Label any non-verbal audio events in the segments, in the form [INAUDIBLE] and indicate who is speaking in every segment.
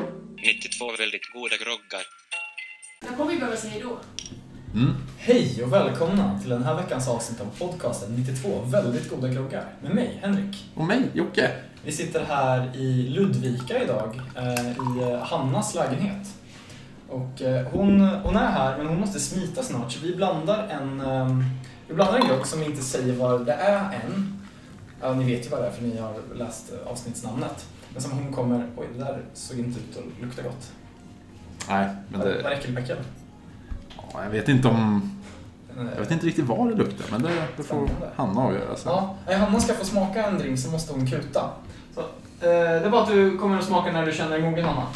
Speaker 1: 92 väldigt goda groggar.
Speaker 2: När kommer vi behöva säga hej då?
Speaker 3: Hej och välkomna till den här veckans avsnitt av podcasten 92 väldigt goda groggar med mig, Henrik.
Speaker 4: Och mig, Jocke.
Speaker 3: Vi sitter här i Ludvika idag, eh, i eh, Hannas lägenhet. Och eh, hon, hon är här, men hon måste smita snart, så vi blandar en, eh, vi blandar en grogg som vi inte säger vad det är än. Ja, ni vet ju vad det är för ni har läst eh, avsnittsnamnet. Men som hon kommer, oj det där såg inte ut att lukta gott.
Speaker 4: Nej, men
Speaker 3: Det var
Speaker 4: det,
Speaker 3: äckelpäckel.
Speaker 4: ja, jag vet inte om...
Speaker 3: Eh,
Speaker 4: Jag vet inte riktigt var det luktar, men det, det får
Speaker 3: Spännande.
Speaker 4: Hanna avgöra sen.
Speaker 3: Ja, nej, Hanna ska få smaka en drink så måste hon kuta. Så, eh, det är bara att du kommer att smaka när du känner dig mogen Hanna.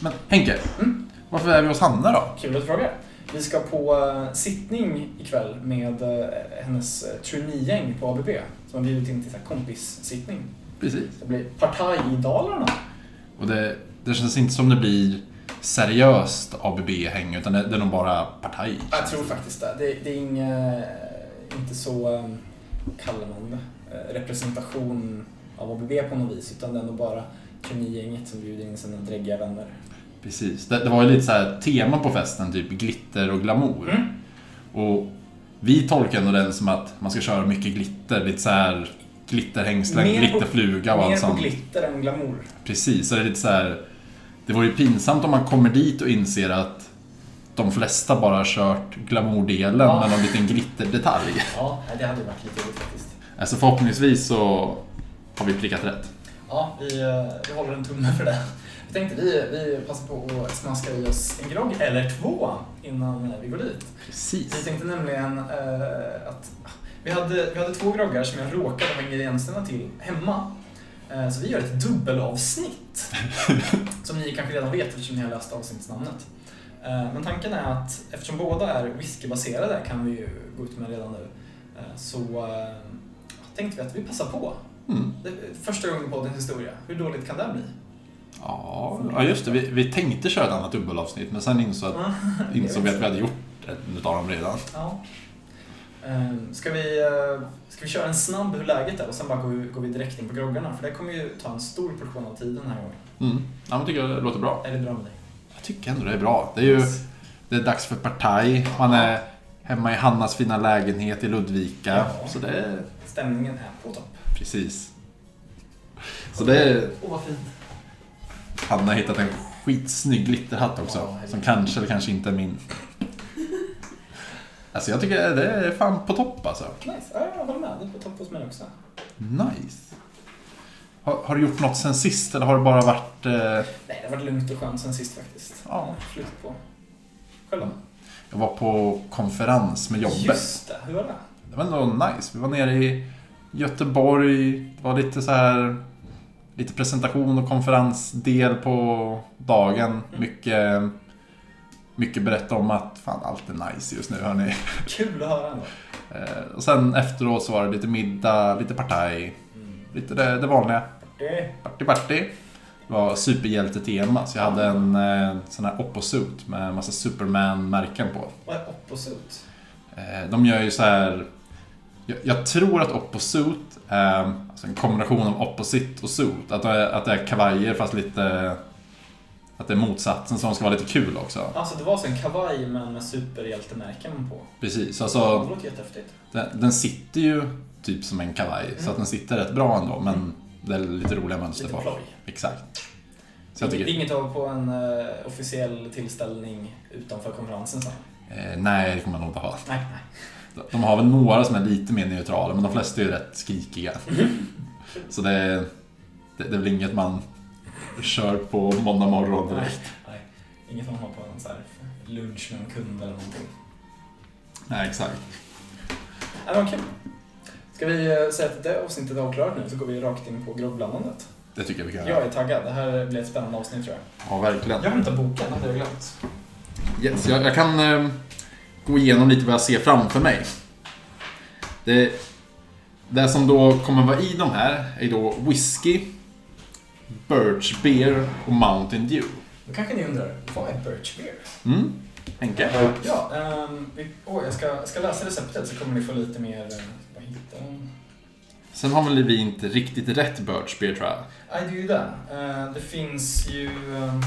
Speaker 4: Men Henke,
Speaker 3: Mm.
Speaker 4: varför är vi hos Hanna då?
Speaker 3: Kul att du frågar. Vi ska på eh, sittning ikväll med eh, hennes eh, trainee-gäng på ABB som har bjudit in till så här kompissittning.
Speaker 4: Precis.
Speaker 3: Det blir partaj i Dalarna.
Speaker 4: Och det, det känns inte som det blir seriöst ABB-häng, utan det, det är nog bara partaj.
Speaker 3: Jag tror faktiskt det. Det, det är inga, eh, inte så, eh, vad kallar man det, Eh, representation av ABB på något vis utan det är nog bara trainee-gänget som bjuder in sina dräggiga vänner.
Speaker 4: Precis. Det, det var ju lite så här tema på festen, typ glitter och glamour.
Speaker 3: Mm.
Speaker 4: Och vi tolkar ändå den som att man ska köra mycket glitter, lite så här glitterhängslen,
Speaker 3: Mer på-
Speaker 4: glitterfluga och
Speaker 3: Mer
Speaker 4: allt
Speaker 3: på
Speaker 4: sånt.
Speaker 3: glitter än glamour.
Speaker 4: Precis, så det är lite så här. Det vore ju pinsamt om man kommer dit och inser att de flesta bara har kört glamourdelen
Speaker 3: Ja.
Speaker 4: med någon liten glitterdetalj.
Speaker 3: Ja, nej, det hade ju varit lite roligt faktiskt.
Speaker 4: Alltså förhoppningsvis så har vi prickat rätt.
Speaker 3: Ja, vi, eh, vi håller en tumme för det. Vi tänkte vi, vi passar på att smaska i oss en grogg eller två innan eh, vi går dit. Vi
Speaker 4: Precis.
Speaker 3: tänkte nämligen eh, att vi hade, vi hade två groggar som jag råkade ha ingredienserna till hemma. Eh, så vi gör ett dubbelavsnitt. som ni kanske redan vet eftersom ni har läst avsnittsnamnet. Eh, men tanken är att eftersom båda är whiskybaserade kan vi ju gå ut med redan nu. Eh, så eh, tänkte vi att vi passar på.
Speaker 4: Mm.
Speaker 3: Det är första gången på poddens historia. Hur dåligt kan det bli?
Speaker 4: Ja, ja, just det. Vi, vi tänkte köra ett annat dubbelavsnitt men sen insåg, att, [LAUGHS] insåg vi att vi hade gjort ett utav dem redan.
Speaker 3: Ja. Ehm, Ska vi, eh, ska vi köra en snabb hur läget är och sen bara går vi, går vi direkt in på groggarna? För det kommer ju ta en stor portion av tiden den här gången.
Speaker 4: Mm. Ja, men tycker jag det låter bra.
Speaker 3: Är det bra med dig?
Speaker 4: Jag tycker ändå det är bra. Det är ju det är dags för partaj. Man är hemma i Hannas fina lägenhet i Ludvika.
Speaker 3: Ja.
Speaker 4: Så det är
Speaker 3: Stämningen är på topp.
Speaker 4: Precis. Så det är...
Speaker 3: Åh, vad fint.
Speaker 4: Hanna har hittat en skitsnygg glitterhatt också.
Speaker 3: Ja, herregud.
Speaker 4: som kanske eller kanske inte är min. Alltså jag tycker det är fan på topp alltså.
Speaker 3: Nice. Ja, jag håller med. Det är på topp hos mig också.
Speaker 4: Nice. Har, har du gjort något sen sist eller har det bara varit... Eh,
Speaker 3: Nej, det har varit lugnt och skönt sen sist faktiskt.
Speaker 4: Ja.
Speaker 3: Flytt på. Själv då?
Speaker 4: jag var på konferens med jobbet.
Speaker 3: Just det, hur var det?
Speaker 4: Det var ändå nice. Vi var nere i Göteborg. Det var lite så här... Lite presentation och konferensdel på dagen. Mycket, mycket berätta om att fan, allt är nice just nu hörni.
Speaker 3: Kul att höra ändå.
Speaker 4: Eh, Och sen efteråt så var det lite middag, lite partaj. Lite det, det vanliga.
Speaker 3: Mm. Det.
Speaker 4: Party party. Det var superhjältetema så jag hade en eh, sån här opposuit med massa Superman-märken på.
Speaker 3: Vad är opposut?
Speaker 4: Eh, De gör ju så här. Jag, jag tror att opposuit är alltså en kombination av opposit och suit. Att det, är, att det är kavajer fast lite... Att det är motsatsen som ska vara lite kul också.
Speaker 3: Alltså, det var så en kavaj men med superhjältemärken på.
Speaker 4: Precis,
Speaker 3: Ja.
Speaker 4: alltså
Speaker 3: Det låter jättehäftigt.
Speaker 4: den, den sitter ju typ som en kavaj så att den sitter rätt bra ändå men det är lite roliga mönster
Speaker 3: Lite
Speaker 4: på.
Speaker 3: ploj.
Speaker 4: Exakt. Så jag
Speaker 3: Inget-
Speaker 4: tycker,
Speaker 3: Inget av på en eh, officiell tillställning utanför konferensen sen?
Speaker 4: eh, nej det kommer man nog inte ha.
Speaker 3: Nej, nej.
Speaker 4: De har väl några som är lite mer neutrala men de flesta är ju rätt skrikiga.
Speaker 3: Mm-hmm.
Speaker 4: Så det är, det, det är väl inget man kör på måndag morgon
Speaker 3: nej,
Speaker 4: direkt.
Speaker 3: nej. Inget man har på en så här lunch med en kund eller någonting.
Speaker 4: Nej, exakt.
Speaker 3: Nej, men okej. Ska vi eh, säga att det avsnittet är avklarat nu så går vi rakt in på groggblandandet.
Speaker 4: Det tycker jag vi kan
Speaker 3: Jag
Speaker 4: göra.
Speaker 3: är taggad. Det här blir ett spännande avsnitt tror jag.
Speaker 4: Ja, verkligen.
Speaker 3: Jag hämtar boken, hade jag glömt.
Speaker 4: Yes, jag, jag kan eh, gå igenom lite vad jag ser framför mig. Det, det som då kommer vara i de här är då whisky, birch beer och Mountain Dew.
Speaker 3: Då kanske ni undrar, vad är birch beer?
Speaker 4: Mm, Henke?
Speaker 3: Ja, ehm, vi, åh, jag ska, ska läsa receptet så kommer ni få lite mer... eh, Vad hittar den?
Speaker 4: Sen har väl Levi inte riktigt rätt birch beer tror jag.
Speaker 3: Nej, det är ju det. Eh, Det finns ju... ehm,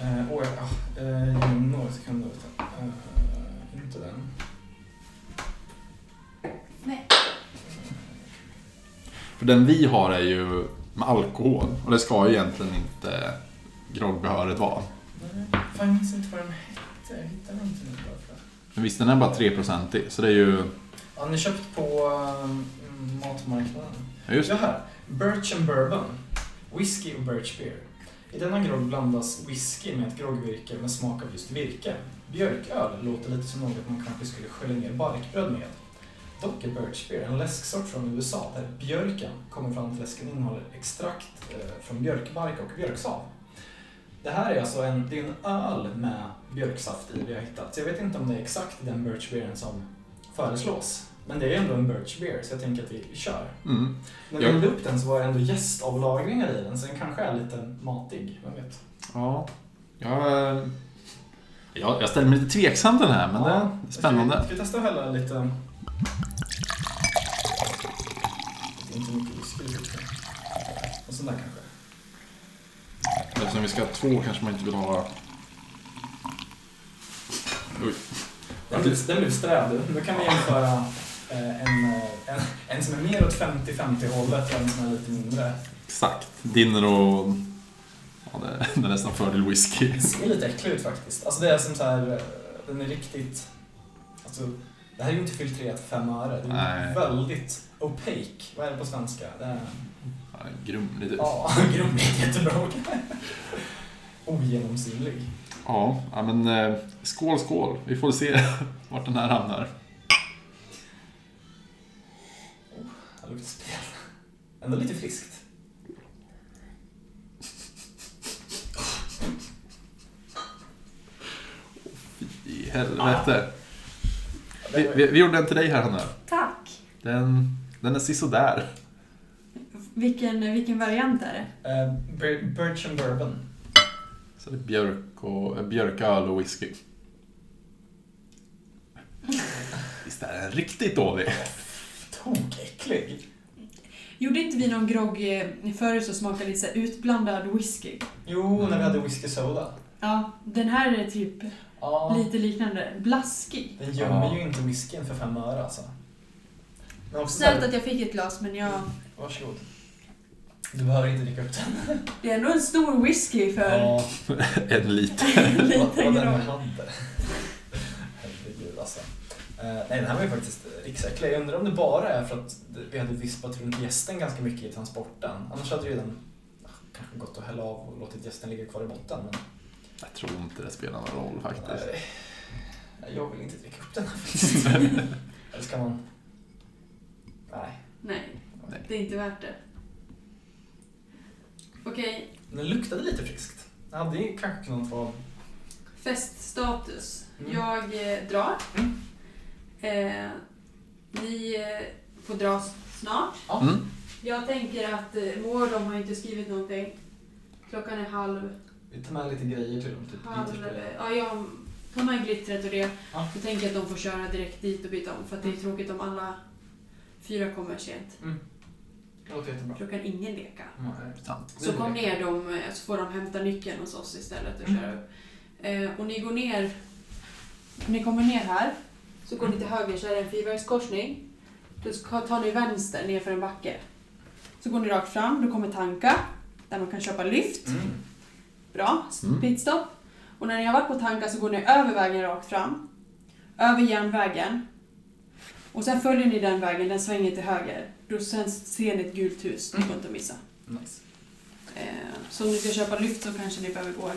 Speaker 3: eh, Åh, ja. eh, ge mig några sekunder. Eh, Inte den.
Speaker 2: Nej.
Speaker 4: För den vi har är ju med alkohol och det ska ju egentligen inte groggbehöret vara.
Speaker 3: Nej, Fan, jag minns inte vad den hette. Jag hittar den inte nu bara för att-
Speaker 4: Men visst, den är bara 3% så det är ju...
Speaker 3: Ja, ni köpt på ehm, matmarknaden.
Speaker 4: Ja, just
Speaker 3: Så
Speaker 4: det.
Speaker 3: här. Birch and bourbon. Whisky och birch beer. I denna grogg blandas whisky med ett groggvirke med smak av just virke. Björköl låter lite som något man kanske skulle skölja ner barkbröd med. Dock är birch beer en läsksort från USA där björken kommer fram till läsken innehåller extrakt eh, från björkbark och björksav. Det här är alltså en, det är en öl med björksaft i vi har hittat. Så jag vet inte om det är exakt den birch beeren som föreslås. Men det är ändå en birch beer så jag tänker att vi kör.
Speaker 4: Mm.
Speaker 3: När
Speaker 4: Ja.
Speaker 3: vi hällde upp den så var det ändå jästavlagringar i den, så den kanske är lite matig, vem vet?
Speaker 4: Ja. Jag, eh, jag, jag ställer mig lite tveksam till den här men det är spännande.
Speaker 3: Ska vi, ska vi testa att hälla lite... Det är inte mycket whisky i det. Och sån där kanske.
Speaker 4: Eftersom vi ska ha två kanske man inte vill ha... Oj.
Speaker 3: Den blev, den blev sträv. Nu kan vi jämföra eh, en, eh, en, en som är mer åt 50-50 hållet och en som är lite mindre.
Speaker 4: Exakt. Dinner och... Ja, det, det är nästan fördel whisky.
Speaker 3: Den ser lite äcklig ut faktiskt. Alltså det är som så här, eh, den är riktigt... Alltså, det här är ju inte filtrerat för fem öre. Det är
Speaker 4: Nej.
Speaker 3: väldigt opaque. Vad är det på svenska? Det är,
Speaker 4: Ja, grumlig typ.
Speaker 3: ja, [LAUGHS] grumligt jättebra ord. Ogenomsynlig.
Speaker 4: Ja, ja, men eh, skål skål. Vi får se [LAUGHS] vart den här hamnar.
Speaker 3: Det luktar spel. Ändå lite friskt.
Speaker 4: I helvete.
Speaker 3: Ja,
Speaker 4: Vi,
Speaker 3: det var-
Speaker 4: vi, vi gjorde den till dig här Hanna.
Speaker 5: Tack!
Speaker 4: Den, den är sisådär.
Speaker 5: Vilken, vilken variant är det?
Speaker 3: Eh, bir- Birch and Bourbon.
Speaker 4: Så det är björk och, eh, björköl och whisky. Visst är den riktigt dålig? [LAUGHS]
Speaker 3: Tokäcklig.
Speaker 5: Gjorde inte vi någon grogg eh, förut som smakade lite så här utblandad whisky?
Speaker 3: Jo,
Speaker 4: Mm.
Speaker 3: när vi hade whisky soda.
Speaker 5: Ja, den här är typ
Speaker 3: Ja,
Speaker 5: lite liknande. Blaskig.
Speaker 3: den gömmer ju inte whiskyn för fem öre alltså. Men också så här-
Speaker 5: Snällt att jag fick ett glas, men jag...
Speaker 3: Varsågod. Du behöver inte dricka upp den.
Speaker 5: Det är ändå en stor whisky för
Speaker 4: en liten.
Speaker 5: [LAUGHS]
Speaker 3: [LAUGHS]
Speaker 5: en
Speaker 3: vad, vad
Speaker 5: liten
Speaker 3: den
Speaker 5: grogg.
Speaker 3: hade. Herregud alltså. Eh, nej, den här var ju faktiskt riksäcklig. Jag undrar om det bara är för att vi hade vispat runt gästen ganska mycket i transporten. Annars hade ju den ah, kanske gått att hälla av och låtit gästen ligga kvar i botten. Men
Speaker 4: Jag tror inte det spelar någon roll faktiskt.
Speaker 3: nej, eh, jag vill inte dricka upp den här
Speaker 4: [LAUGHS]
Speaker 3: faktiskt. Eller ska man? Nej.
Speaker 5: Nej,
Speaker 4: Nej.
Speaker 5: det är inte värt det. Okej,
Speaker 3: Den luktade lite friskt. Den hade ju kanske kunnat vara...
Speaker 5: feststatus.
Speaker 3: Mm.
Speaker 5: Jag eh, drar.
Speaker 3: Mm.
Speaker 5: Eh, ni eh, får dra s- snart.
Speaker 4: Mm.
Speaker 5: Jag tänker att eh, Moa och de har inte skrivit någonting. Klockan är halv...
Speaker 3: Vi tar med lite grejer till dem. Typ,
Speaker 5: halv
Speaker 3: glitterspray.
Speaker 5: ja, jag tar med glittret och det.
Speaker 3: Ja.
Speaker 5: Jag tänker att de får köra direkt dit och byta om för att det är tråkigt om alla fyra kommer sent.
Speaker 3: Det låter jättebra.
Speaker 5: Då kan ingen leka.
Speaker 3: Mm.
Speaker 4: Sant.
Speaker 5: Så kom ner dem, eh, så får de hämta nyckeln hos oss istället och köra upp. Eh, och ni går ner, ni kommer ner här, så går ni till höger så är det en fyrvägskorsning. Då ska- tar ni vänster ner för en backe. Så går ni rakt fram, då kommer Tanka, där man kan köpa lyft.
Speaker 3: Mm.
Speaker 5: Bra,
Speaker 4: Mm.
Speaker 5: pitstop. Och när ni har varit på Tanka så går ni över vägen rakt fram, över järnvägen. Och sen följer ni den vägen, den svänger till höger. Då sen ser ni ett gult hus, det går inte att missa.
Speaker 3: Nice.
Speaker 5: Eh, Så om ni ska köpa lyft så kanske ni behöver gå en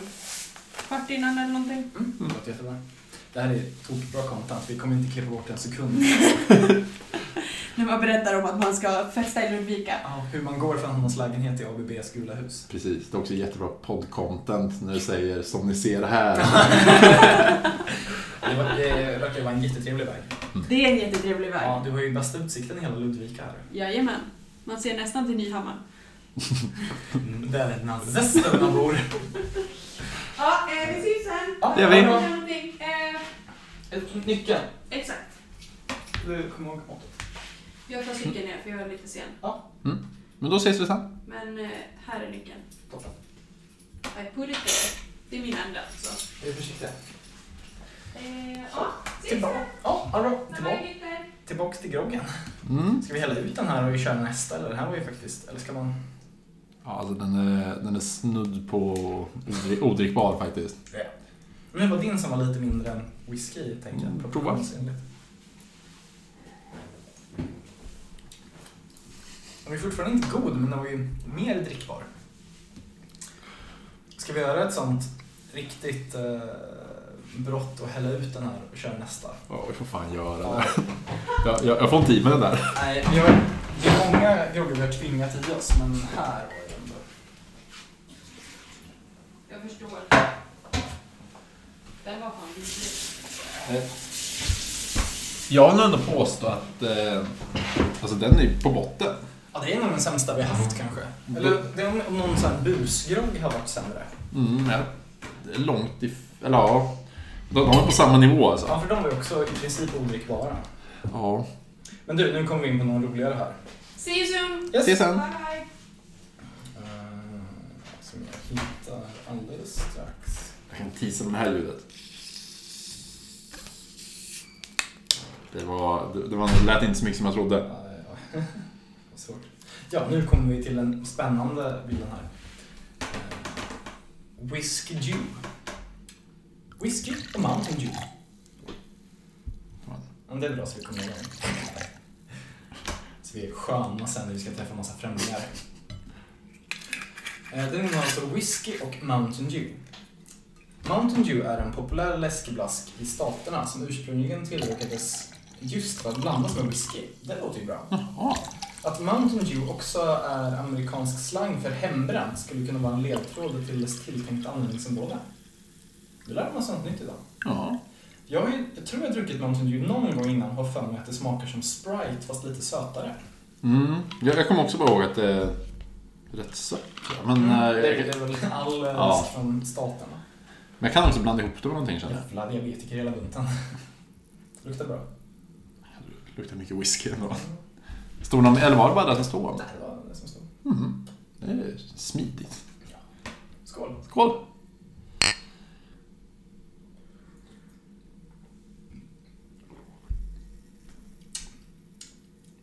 Speaker 5: kvart innan eller någonting.
Speaker 3: Mm. Det låter jättebra. Det här är tokbra content. Vi kommer inte klippa bort en sekund.
Speaker 5: När man berättar om att man ska festa i Ludvika.
Speaker 3: Ja, hur man går från hans lägenhet i ABBs gula hus.
Speaker 4: Precis, det är också jättebra podd-content när du säger som ni ser här. [LAUGHS]
Speaker 3: Det, var, det verkar vara en jättetrevlig väg.
Speaker 5: Det är en jättetrevlig väg.
Speaker 3: Ja, du har ju bästa utsikten i hela Ludvika här.
Speaker 5: Jajamän. Man ser nästan till Nyhammar.
Speaker 3: Där är nazisterna bor.
Speaker 5: Ja, eh, vi ses sen.
Speaker 3: Ja,
Speaker 4: Det gör vi.
Speaker 3: ha bra.
Speaker 5: Någonting. Eh,
Speaker 3: Ett- Nyckeln.
Speaker 5: exakt.
Speaker 3: Du kommer ihåg måttet.
Speaker 5: Jag tar cykeln ner för jag är lite sen.
Speaker 4: Men då ses vi sen.
Speaker 5: Men eh, här är nyckeln.
Speaker 3: Toppen.
Speaker 5: I put it there. Det är min enda alltså.
Speaker 3: Är du försiktig?
Speaker 5: Eh, ja, ses
Speaker 3: Tillbaka.
Speaker 5: sen.
Speaker 3: Ja, allra. Tillbaka.
Speaker 5: Bye, bye,
Speaker 3: Tillbaks till groggen.
Speaker 4: Mm.
Speaker 3: Ska vi hälla ut den här och köra nästa eller? Den här var ju faktiskt... Eller ska man...
Speaker 4: Ja, alltså den är, den är snudd på odri- odrickbar faktiskt.
Speaker 3: Ja. Det var din som var lite mindre än whisky, tänker jag.
Speaker 4: Mm, prova.
Speaker 3: proportionsenligt. Den är fortfarande inte god, men den var ju mer drickbar. Ska vi göra ett sånt riktigt eh, brott och hälla ut den här och köra nästa?
Speaker 4: Ja, vi får fan göra det. Jag, jag, jag får inte i mig den där.
Speaker 3: Nej, vi har, det är många groggar vi har tvingat i oss, men här var det ändå...
Speaker 5: Jag förstår. Den var fan vidrig.
Speaker 4: Eh, Jag vill ändå påstå att eh, alltså den är på botten.
Speaker 3: Ja, det är nog den sämsta vi har haft
Speaker 4: Mm.
Speaker 3: kanske. Eller det är om- om någon sån här busgrogg har varit sämre.
Speaker 4: Mm, ja. Det är långt if- Eller ja. De, de är på samma nivå alltså.
Speaker 3: Ja, för de var ju också i princip odrickbara.
Speaker 4: Ja.
Speaker 3: Men du, nu kommer vi in på någon roligare här.
Speaker 5: See you soon!
Speaker 3: Yes.
Speaker 4: Ses sen.
Speaker 5: Bye!
Speaker 3: Eh, Som jag hittar alldeles strax.
Speaker 4: Jag kan tisa med det här ljudet. Det var... Det, det var det lät inte så mycket som jag trodde.
Speaker 3: Ja, ja. [LAUGHS] Vad svårt. Ja, nu kommer vi till den spännande bilden här. Eh, Whisk Jew. Whisky och Mountain Dew.
Speaker 4: Fan.
Speaker 3: Men det är bra så vi kommer igång. [LAUGHS] Så vi är sköna sen när vi ska träffa en massa främlingar. Eh, Den innehåller alltså whisky och Mountain Dew. Mountain Dew är en populär läskeblask i staterna som ursprungligen tillverkades just för att blandas med whisky. Det låter ju bra.
Speaker 4: Jaha.
Speaker 3: Att Mountain Dew också är amerikansk slang för hembränt skulle kunna vara en ledtråd till dess tilltänkta användningsområde. Du lär man sig något nytt idag.
Speaker 4: Ja.
Speaker 3: Jag, har ju, jag tror jag har druckit Mountain Dew någon gång innan och har för mig att det smakar som Sprite fast lite sötare.
Speaker 4: Mm. Jag, jag kommer också bara ihåg att det är rätt sött. ja. Men, eh,
Speaker 3: Mm, det, är,
Speaker 4: jag,
Speaker 3: det är väl all eh,
Speaker 4: Ja.
Speaker 3: läsk från staterna.
Speaker 4: men jag kan också blanda ihop det med någonting känner jag.
Speaker 3: Jävla diabetiker i hela bunten. Det luktar bra.
Speaker 4: Det luktar mycket whisky ändå. Stod någon, eller var det bara det som stod?
Speaker 3: Nej, det var det som stod.
Speaker 4: Mm. Det är smidigt.
Speaker 3: Skål.
Speaker 4: Skål!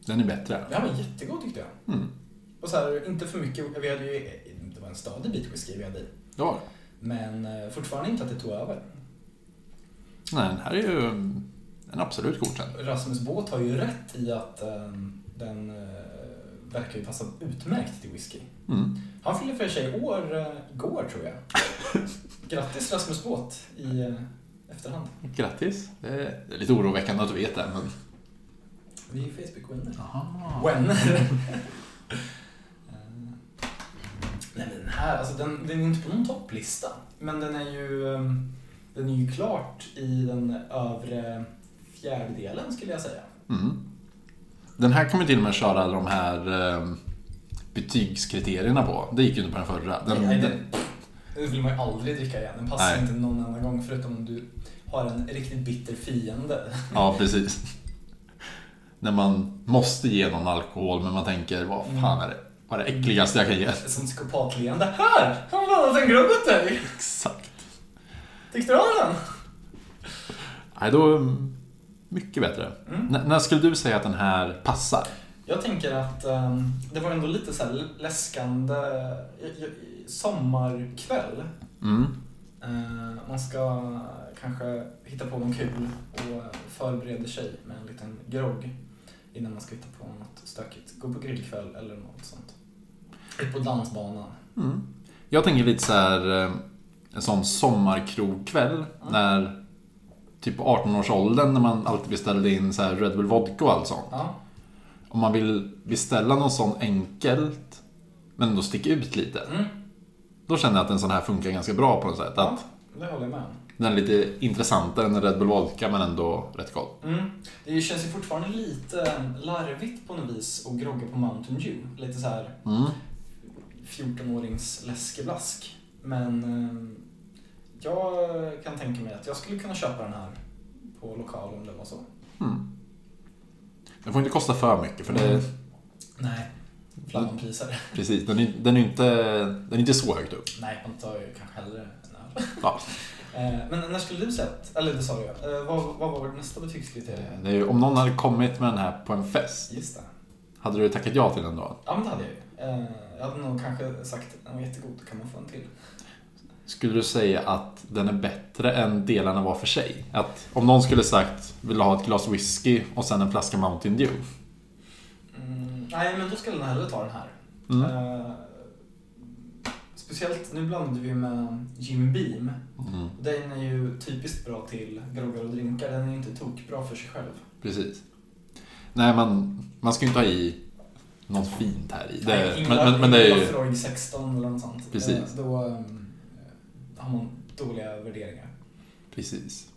Speaker 4: Den är bättre.
Speaker 3: Det här var jättegod tyckte jag.
Speaker 4: Mm.
Speaker 3: Och så här, inte för mycket. Vi hade ju, det var en stadig bit whisky vi hade i.
Speaker 4: Det var det.
Speaker 3: Men eh, fortfarande inte att det tog över.
Speaker 4: Nej, den här är ju en absolut godkänd.
Speaker 3: Rasmus Båt har ju rätt i att eh, den eh, verkar ju passa utmärkt till whisky.
Speaker 4: Mm.
Speaker 3: Han fyller för sig år eh, igår tror jag. Grattis Rasmus Båt i eh, efterhand.
Speaker 4: Grattis. Det är det är lite oroväckande att du vet det, men...
Speaker 3: Vi är Facebook-vänner.
Speaker 4: Aha.
Speaker 3: Vänner. Eh, Nej men den här, alltså den, den är inte på någon topplista. Men den är ju, eh, den är ju klart i den övre fjärdedelen skulle jag säga.
Speaker 4: Mm. Den här kommer till och med köra de här eh, betygskriterierna på. Det gick ju inte på den förra. Den,
Speaker 3: Nej,
Speaker 4: den,
Speaker 3: den, den vill man ju aldrig dricka igen. Den passar
Speaker 4: Nej.
Speaker 3: inte någon enda gång förutom om du har en riktigt bitter fiende.
Speaker 4: ja, precis. När man måste ge någon alkohol, men man tänker vad
Speaker 3: Mm.
Speaker 4: fan är det, vad är det äckligaste jag kan
Speaker 3: [LAUGHS]
Speaker 4: ge?
Speaker 3: Ett sånt psykopatleende. Här! Han har blandat en grogg åt dig!
Speaker 4: Exakt.
Speaker 3: Tyckte du om den?
Speaker 4: Nej, då... mm, Mycket bättre.
Speaker 3: Mm.
Speaker 4: N- när skulle du säga att den här passar?
Speaker 3: Jag tänker att ehm, det var ändå lite så här läskande eh, eh, sommarkväll.
Speaker 4: Mm.
Speaker 3: Eh, man ska kanske hitta på någon kul och förbereder sig med en liten grogg innan man ska hitta på något stökigt. Gå på grillkväll eller något sånt. Ut på dansbanan.
Speaker 4: Mm. Jag tänker lite så här eh, en sån sommarkrogkväll
Speaker 3: Mm.
Speaker 4: när typ på 18-årsåldern när man alltid beställde in så här Red Bull Vodka och allt sånt.
Speaker 3: Ja.
Speaker 4: Om man vill beställa någon sån enkelt men ändå sticka ut lite.
Speaker 3: Mm.
Speaker 4: Då känner jag att en sån här funkar ganska bra på något sätt.
Speaker 3: Ja,
Speaker 4: Att
Speaker 3: det håller jag med om.
Speaker 4: den är lite intressantare än en Red Bull Vodka men ändå rätt gott.
Speaker 3: Mm. Det känns ju fortfarande lite larvigt på något vis att grogga på Mountain Dew. Lite så här
Speaker 4: Mm.
Speaker 3: 14-årings läskeblask. Men eh, jag kan tänka mig att jag skulle kunna köpa den här på lokal om det var så.
Speaker 4: Mm. Den får inte kosta för mycket för det,
Speaker 3: Mm. Nej, flammanprisare.
Speaker 4: precis, den, är, den, är inte, den är inte så högt upp.
Speaker 3: Nej, man tar ju kanske hellre en öl.
Speaker 4: Ja.
Speaker 3: Eh, Men när skulle du sett, eller det sa du ja. Eh, vad, vad var vårt nästa betygskriterium?
Speaker 4: Det är, ju- om någon hade kommit med den här på en fest,
Speaker 3: Just det.
Speaker 4: hade du tackat ja till den då?
Speaker 3: Ja, men det hade jag ju. Eh, Jag hade nog kanske sagt den var jättegod, kan man få en till?
Speaker 4: Skulle du säga att den är bättre än delarna var för sig? Att om någon skulle sagt vill du ha ett glas whisky och sen en flaska Mountain Dew?
Speaker 3: Mm, nej, men då skulle jag hellre ta den här.
Speaker 4: Mm.
Speaker 3: Eh, speciellt, nu blandade vi med Jim Beam.
Speaker 4: Mm,
Speaker 3: Den är ju typiskt bra till groggar och drinkar. Den är ju inte tokbra för sig själv.
Speaker 4: precis. Nej, man, man ska ju inte ha i något fint här i.
Speaker 3: Nej,
Speaker 4: Det, men,
Speaker 3: Ingvar-
Speaker 4: men, men det är
Speaker 3: Ingvar
Speaker 4: ju...
Speaker 3: Freud 16 eller något sånt.
Speaker 4: Precis.
Speaker 3: Eh, Då eh, har man dåliga värderingar.
Speaker 4: Precis.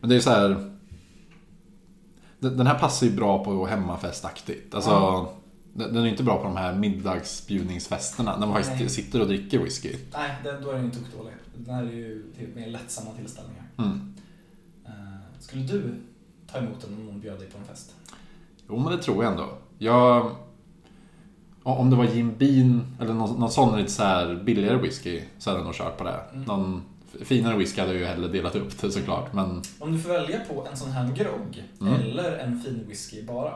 Speaker 4: Men det är ju så här. Den den här passar ju bra på hemmafestaktigt. Alltså,
Speaker 3: Ja.
Speaker 4: Den den är inte bra på de här middagsbjudningsfesterna när man faktiskt
Speaker 3: Nej.
Speaker 4: sitter och dricker whisky.
Speaker 3: Nej, den, då är den ju tokdålig. Den här är ju till mer lättsamma tillställningar.
Speaker 4: Mm.
Speaker 3: Eh, skulle du ta emot den om någon bjöd dig på en fest?
Speaker 4: Jo, men det tror jag ändå. Jag... o- Om det var Jim Beam eller någon, någon sån lite så här billigare whisky så hade jag nog kört på det.
Speaker 3: Mm.
Speaker 4: Någon f- finare whisky hade jag ju hellre delat upp det såklart. Men
Speaker 3: Om du får välja på en sån här grogg
Speaker 4: Mm.
Speaker 3: eller en fin whisky bara.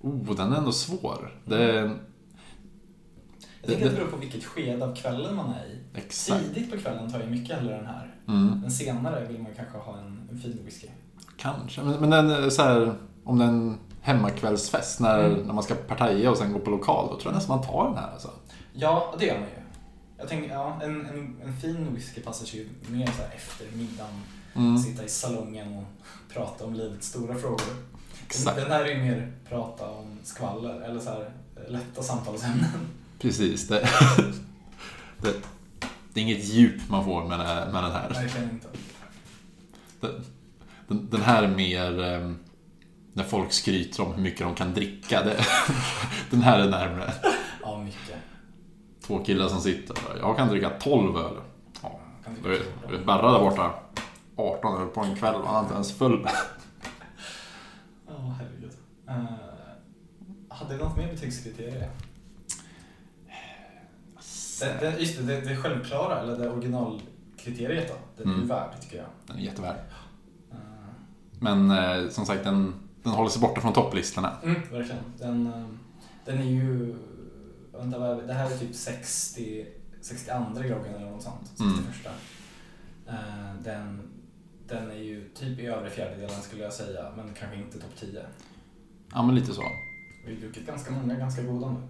Speaker 4: oh, den är ändå svår.
Speaker 3: Mm.
Speaker 4: Det,
Speaker 3: Jag tänker att det
Speaker 4: Det-
Speaker 3: beror på vilket skede av kvällen man är i.
Speaker 4: exakt.
Speaker 3: Tidigt på kvällen tar jag mycket hellre den här.
Speaker 4: Mm.
Speaker 3: Men senare vill man kanske ha en, en fin whisky.
Speaker 4: Kanske, men, men den, är så här, om det är en hemmakvällsfest när,
Speaker 3: Mm.
Speaker 4: när man ska partaja och sen gå på lokal, då tror jag nästan man tar den här alltså.
Speaker 3: Ja, det gör man ju. Jag tänker, ja, en, en, en fin whisky passar sig ju mer så här efter middagen.
Speaker 4: Mm.
Speaker 3: Sitta i salongen och prata om livets stora frågor.
Speaker 4: Exakt,
Speaker 3: Den här är ju mer prata om skvaller eller så här eh, lätta samtalsämnen. [LAUGHS]
Speaker 4: precis. Det, [LAUGHS] det, det är inget djup man får med, den här- med den här.
Speaker 3: Verkligen inte.
Speaker 4: Den, den här är mer eh, när folk skryter om hur mycket de kan dricka. Det, [LAUGHS] den här är närmare
Speaker 3: Ja, mycket.
Speaker 4: två killar som sitter och bara, jag kan dricka 12 öl. Ja,
Speaker 3: Kan tycka
Speaker 4: då är
Speaker 3: så.
Speaker 4: då är Berra där borta 18 öl på en kväll och han är inte ens full.
Speaker 3: Ja, herregud. Eh, hade vi något mer betygskriterier? Det, det, just det, det, det självklara, eller det originalkriteriet då. Det är ju
Speaker 4: Mm.
Speaker 3: värd, tycker jag.
Speaker 4: Den är jättevärd.
Speaker 3: Eh,
Speaker 4: Men eh, som sagt, den, den håller sig borta från topplistorna.
Speaker 3: Mm, verkligen. Den, eh, den är ju... Vänta, vad är det? Det här är typ 60, 62 groggen eller något sånt.
Speaker 4: Mm.
Speaker 3: 61. Eh, Den, den är ju typ i övre fjärdedelen skulle jag säga, men kanske inte topp 10.
Speaker 4: Ja, men lite så.
Speaker 3: Vi har druckit ganska många ganska goda nu.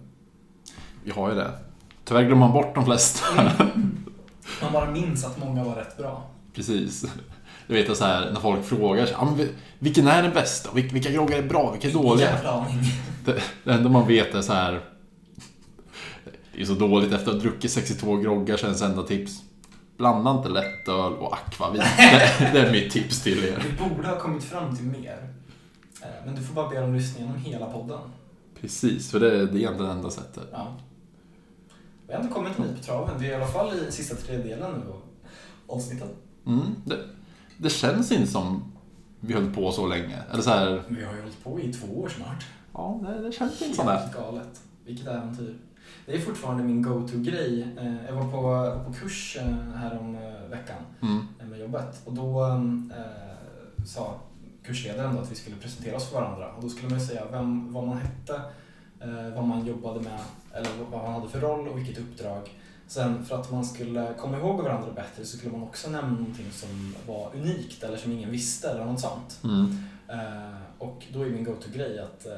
Speaker 4: Vi har ju det. Tyvärr glömmer man bort de flesta. [LAUGHS]
Speaker 3: Man bara minns att många var rätt bra.
Speaker 4: Precis. Du vet så här, när folk frågar sig, "Ja, men vi- vilken är den bästa? Vil- Vilka groggar är bra? Vilka är dåliga?
Speaker 3: Jävla aning.
Speaker 4: Det enda man vet är så här. Det är så dåligt efter att ha druckit 62 groggar så är ens enda tips. Blanda inte lättöl och akvavit. Det, det är mitt tips till er.
Speaker 3: Vi borde ha kommit fram till mer. Eh, Men du får bara be dem lyssna igenom hela podden.
Speaker 4: Precis, för det, det är egentligen det enda sättet.
Speaker 3: Ja. Vi har ändå kommit en bit på traven. Vi är i alla fall i sista tredjedelen nu av avsnittet.
Speaker 4: Mm, det, det känns inte som vi höll på så länge. Eller så här,
Speaker 3: Men Vi har ju hållit på i två år snart.
Speaker 4: Ja, det, det känns inte som det.
Speaker 3: Helt galet. Vilket äventyr. Det är fortfarande min go-to-grej. Eh, Jag var på, på kurs eh, här om eh, veckan
Speaker 4: Mm.
Speaker 3: eh, med jobbet och då eh, sa kursledaren då att vi skulle presentera oss för varandra och då skulle man ju säga vem, vad man hette, eh, vad man jobbade med eller vad- vad man hade för roll och vilket uppdrag. Sen för att man skulle komma ihåg varandra bättre så skulle man också nämna någonting som var unikt eller som ingen visste eller något sånt.
Speaker 4: Mm.
Speaker 3: Eh, och då är min go-to-grej att eh,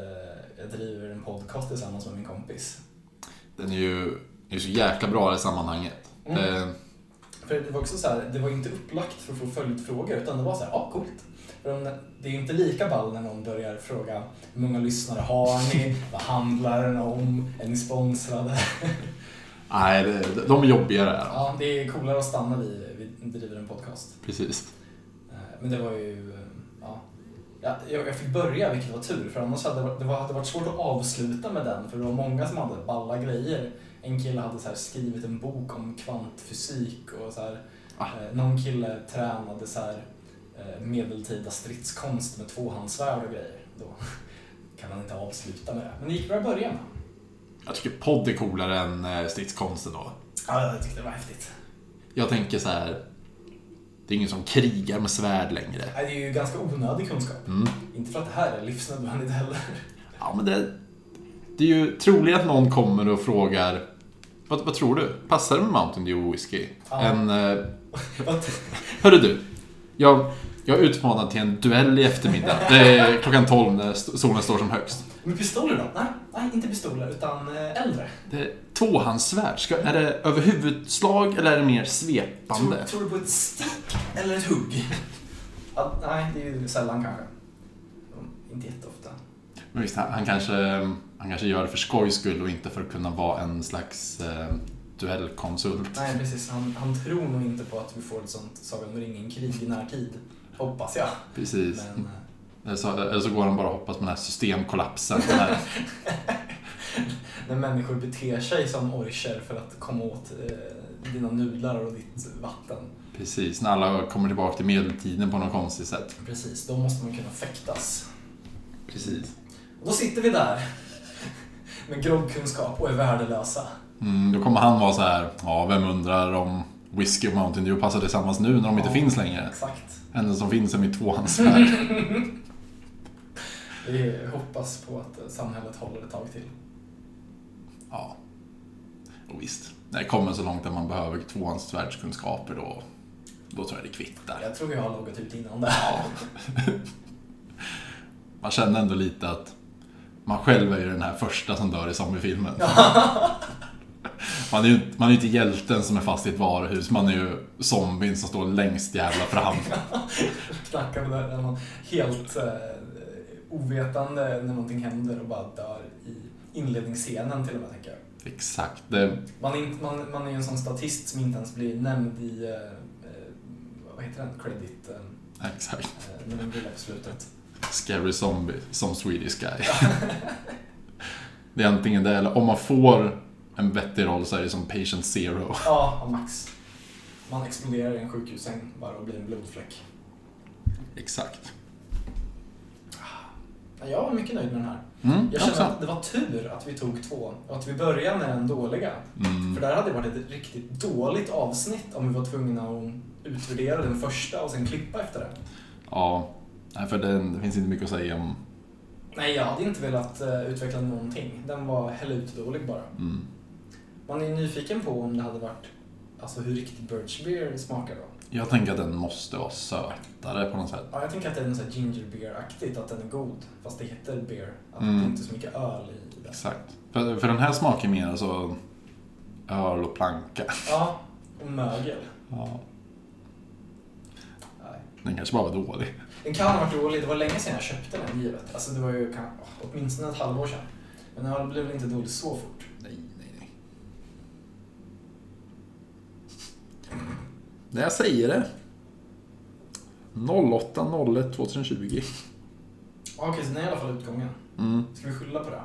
Speaker 3: jag driver en podcast tillsammans med min kompis.
Speaker 4: Den är ju den är så jäkla bra i det här sammanhanget. Eh,
Speaker 3: Mm.
Speaker 4: Det,
Speaker 3: För det var också så här, det var inte upplagt för att få följdfrågor utan det var så här, ah, coolt. För om, det är ju inte lika ball när någon börjar fråga hur många lyssnare har ni? [LAUGHS] Vad handlar den om? Är ni sponsrade?
Speaker 4: nej, det, de är jobbigare. Är de.
Speaker 3: Ja, det är coolare att stanna vid, vi driver en podcast.
Speaker 4: Precis.
Speaker 3: Eh, Men det var ju, eh, ja. Ja, Jag, jag fick börja vilket var tur för annars hade det varit- det var- hade varit svårt att avsluta med den för det var många som hade balla grejer. En kille hade så här skrivit en bok om kvantfysik och så här,
Speaker 4: Ah.
Speaker 3: eh, någon kille tränade så här, eh, medeltida stridskonst med tvåhandsvärd och grejer. då [LAUGHS] kan han inte avsluta med det. Men det gick bra i början.
Speaker 4: Jag tycker podd är coolare än eh, stridskonsten då.
Speaker 3: Ja, jag tyckte det var häftigt.
Speaker 4: Jag tänker så här. Det är ingen som krigar med svärd längre.
Speaker 3: Nej, Det är ju ganska onödig kunskap.
Speaker 4: Mm.
Speaker 3: Inte för att det här är livsnödvändigt heller. [LAUGHS]
Speaker 4: Ja, men det, det är ju troligt att någon kommer och frågar vad, vad tror du? Passar det med Mountain Dew whisky?
Speaker 3: Ja.
Speaker 4: En, eh,
Speaker 3: Att-
Speaker 4: hörru du, jag, jag är utmanad till en duell i eftermiddag. Det är klockan 12 när st- solen står som högst.
Speaker 3: Men pistoler då? Nej, nej inte pistoler utan eh, äldre.
Speaker 4: Det är tvåhandssvärd. Ska, är det överhuvudslag eller är det mer
Speaker 3: Tror,
Speaker 4: svepande?
Speaker 3: tror du på ett stick eller ett hugg? Ja, nej, det är ju sällan kanske. Mm, Inte jätteofta.
Speaker 4: Men visst, han, han, kanske, han kanske gör det för skojs skull och inte för att kunna vara en slags eh, duellkonsult.
Speaker 3: Nej, precis. Han, han tror nog inte på att vi får ett sånt Sagan om ringen-krig i närtid. Hoppas jag.
Speaker 4: Precis.
Speaker 3: Men,
Speaker 4: Eller så, eller så går han bara och hoppas på den här systemkollapsen. Den
Speaker 3: [LAUGHS]
Speaker 4: här
Speaker 3: eh, när människor beter sig som orcher för att komma åt eh, dina nudlar och ditt vatten.
Speaker 4: Precis, när alla kommer tillbaka till medeltiden på något konstigt sätt.
Speaker 3: Precis, då måste man kunna fäktas.
Speaker 4: Precis.
Speaker 3: Och då sitter vi där [LAUGHS] med groggkunskap och är värdelösa.
Speaker 4: Mm, då kommer han vara så här, ja vem undrar om whisky och Mountain Dew passar tillsammans nu när de inte
Speaker 3: Ja.
Speaker 4: finns längre?
Speaker 3: Exakt.
Speaker 4: Enda som finns är mitt tvåhandsvärd.
Speaker 3: Vi hoppas på att eh, samhället håller ett tag till.
Speaker 4: ja. Och visst, när det kommer så långt att man behöver tvåhandsvärdskunskaper då, då tror jag det kvittar.
Speaker 3: Jag tror jag har loggat ut innan [LAUGHS] det här.
Speaker 4: Man känner ändå lite att man själv är ju den här första som dör i zombiefilmen. [LAUGHS] Man är, ju, man är ju inte hjälten som är fast i ett varuhus, man är ju zombien som står längst jävla fram.
Speaker 3: Knacka på dörren. Man helt eh, ovetande när någonting händer och bara dör i inledningsscenen till och med, tänker jag.
Speaker 4: Exakt. Det,
Speaker 3: Man är, inte- man, man är ju en sån statist som inte ens blir nämnd i, eh, eh, vad heter den, credit, eh,
Speaker 4: exakt.
Speaker 3: eh, när man blir där på slutet.
Speaker 4: Scary zombie, som Swedish guy. det är antingen det, eller om man får en vettig roll så är det som patient zero.
Speaker 3: [LAUGHS] Ja, och max. Man exploderar i en sjukhussäng bara och blir en blodfläck.
Speaker 4: Exakt.
Speaker 3: Ja, Jag var mycket nöjd med den här.
Speaker 4: Mm,
Speaker 3: Jag
Speaker 4: jag
Speaker 3: känner
Speaker 4: också.
Speaker 3: att det var tur att vi tog två och att vi började med den dåliga. För
Speaker 4: Mm,
Speaker 3: där hade det varit ett riktigt dåligt avsnitt om vi var tvungna att utvärdera den första och sen klippa efter det.
Speaker 4: ja, Nej, för det, det finns inte mycket att säga om.
Speaker 3: Nej, jag hade inte velat eh, utveckla någonting. Den var dålig bara.
Speaker 4: Mm.
Speaker 3: Man är ju nyfiken på om det hade varit Alltså hur riktigt birch beer smakar då.
Speaker 4: Jag tänker att den måste vara sötare på något sätt.
Speaker 3: Ja, jag tänker att det är något så här ginger beer-aktigt, att den är god. Fast det heter beer. Att det
Speaker 4: Mm.
Speaker 3: är inte är så mycket öl i den.
Speaker 4: Exakt. För, för den här smakar mer så öl och planka.
Speaker 3: Ja, och mögel.
Speaker 4: Ja.
Speaker 3: Nej.
Speaker 4: Den kanske bara var dålig.
Speaker 3: Den kan ha varit dålig. Det var länge sedan jag köpte den givet. Alltså det var ju kan, åtminstone ett halvår sedan. Men den blev väl inte dålig så fort.
Speaker 4: Nej, nej, nej. När jag säger det. 08.01.2020.
Speaker 3: Ja, Okej, så den är i alla fall utgången.
Speaker 4: Mm.
Speaker 3: Ska vi skylla på det?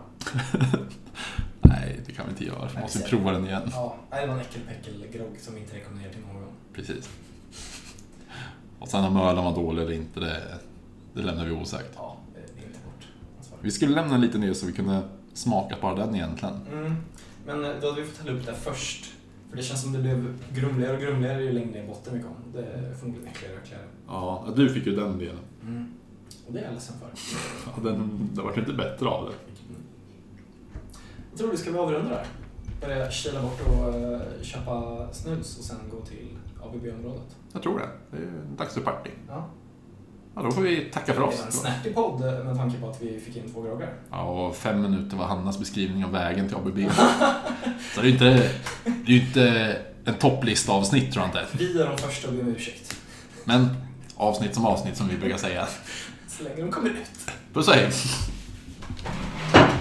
Speaker 4: Nej, det kan vi inte göra. Vi måste
Speaker 3: Nej,
Speaker 4: prova den igen.
Speaker 3: Ja, nej, det var en äckelpäckelgrogg som vi inte rekommenderar till någon.
Speaker 4: Precis. Och sen om ölen var dålig eller inte, det, det lämnar vi osagt.
Speaker 3: Ja, det är inte vårt ansvar.
Speaker 4: Vi skulle lämna lite ner så vi kunde smaka på den egentligen.
Speaker 3: Mm. Men eh, då hade vi fått hälla upp det först. För det känns som det blev grumligare och grumligare ju längre ner i botten vi kom. Det är förmodligen äckligare och äckligare.
Speaker 4: Ja, du fick ju den delen.
Speaker 3: Mm. Och det är jag ledsen för.
Speaker 4: Den, det vart inte bättre av det.
Speaker 3: Jag tror du ska vi avrunda där. Börja kila bort och eh, köpa snus och sen gå till ABB-området.
Speaker 4: Jag tror det. Det är ju dags för party.
Speaker 3: Ja.
Speaker 4: Ja, då får vi tacka för
Speaker 3: Det var en
Speaker 4: oss.
Speaker 3: snärtig podd eh, med tanke på att vi fick in två groggar. [LAUGHS]
Speaker 4: Ja, och fem minuter var Hannas beskrivning av vägen till ABB. [LAUGHS] Så det är ju inte, det är ju inte en topplista-avsnitt tror jag inte.
Speaker 3: Vi är de första att be om ursäkt.
Speaker 4: Men avsnitt som avsnitt som vi brukar säga.
Speaker 3: Så länge de kommer ut.
Speaker 4: Puss och hej!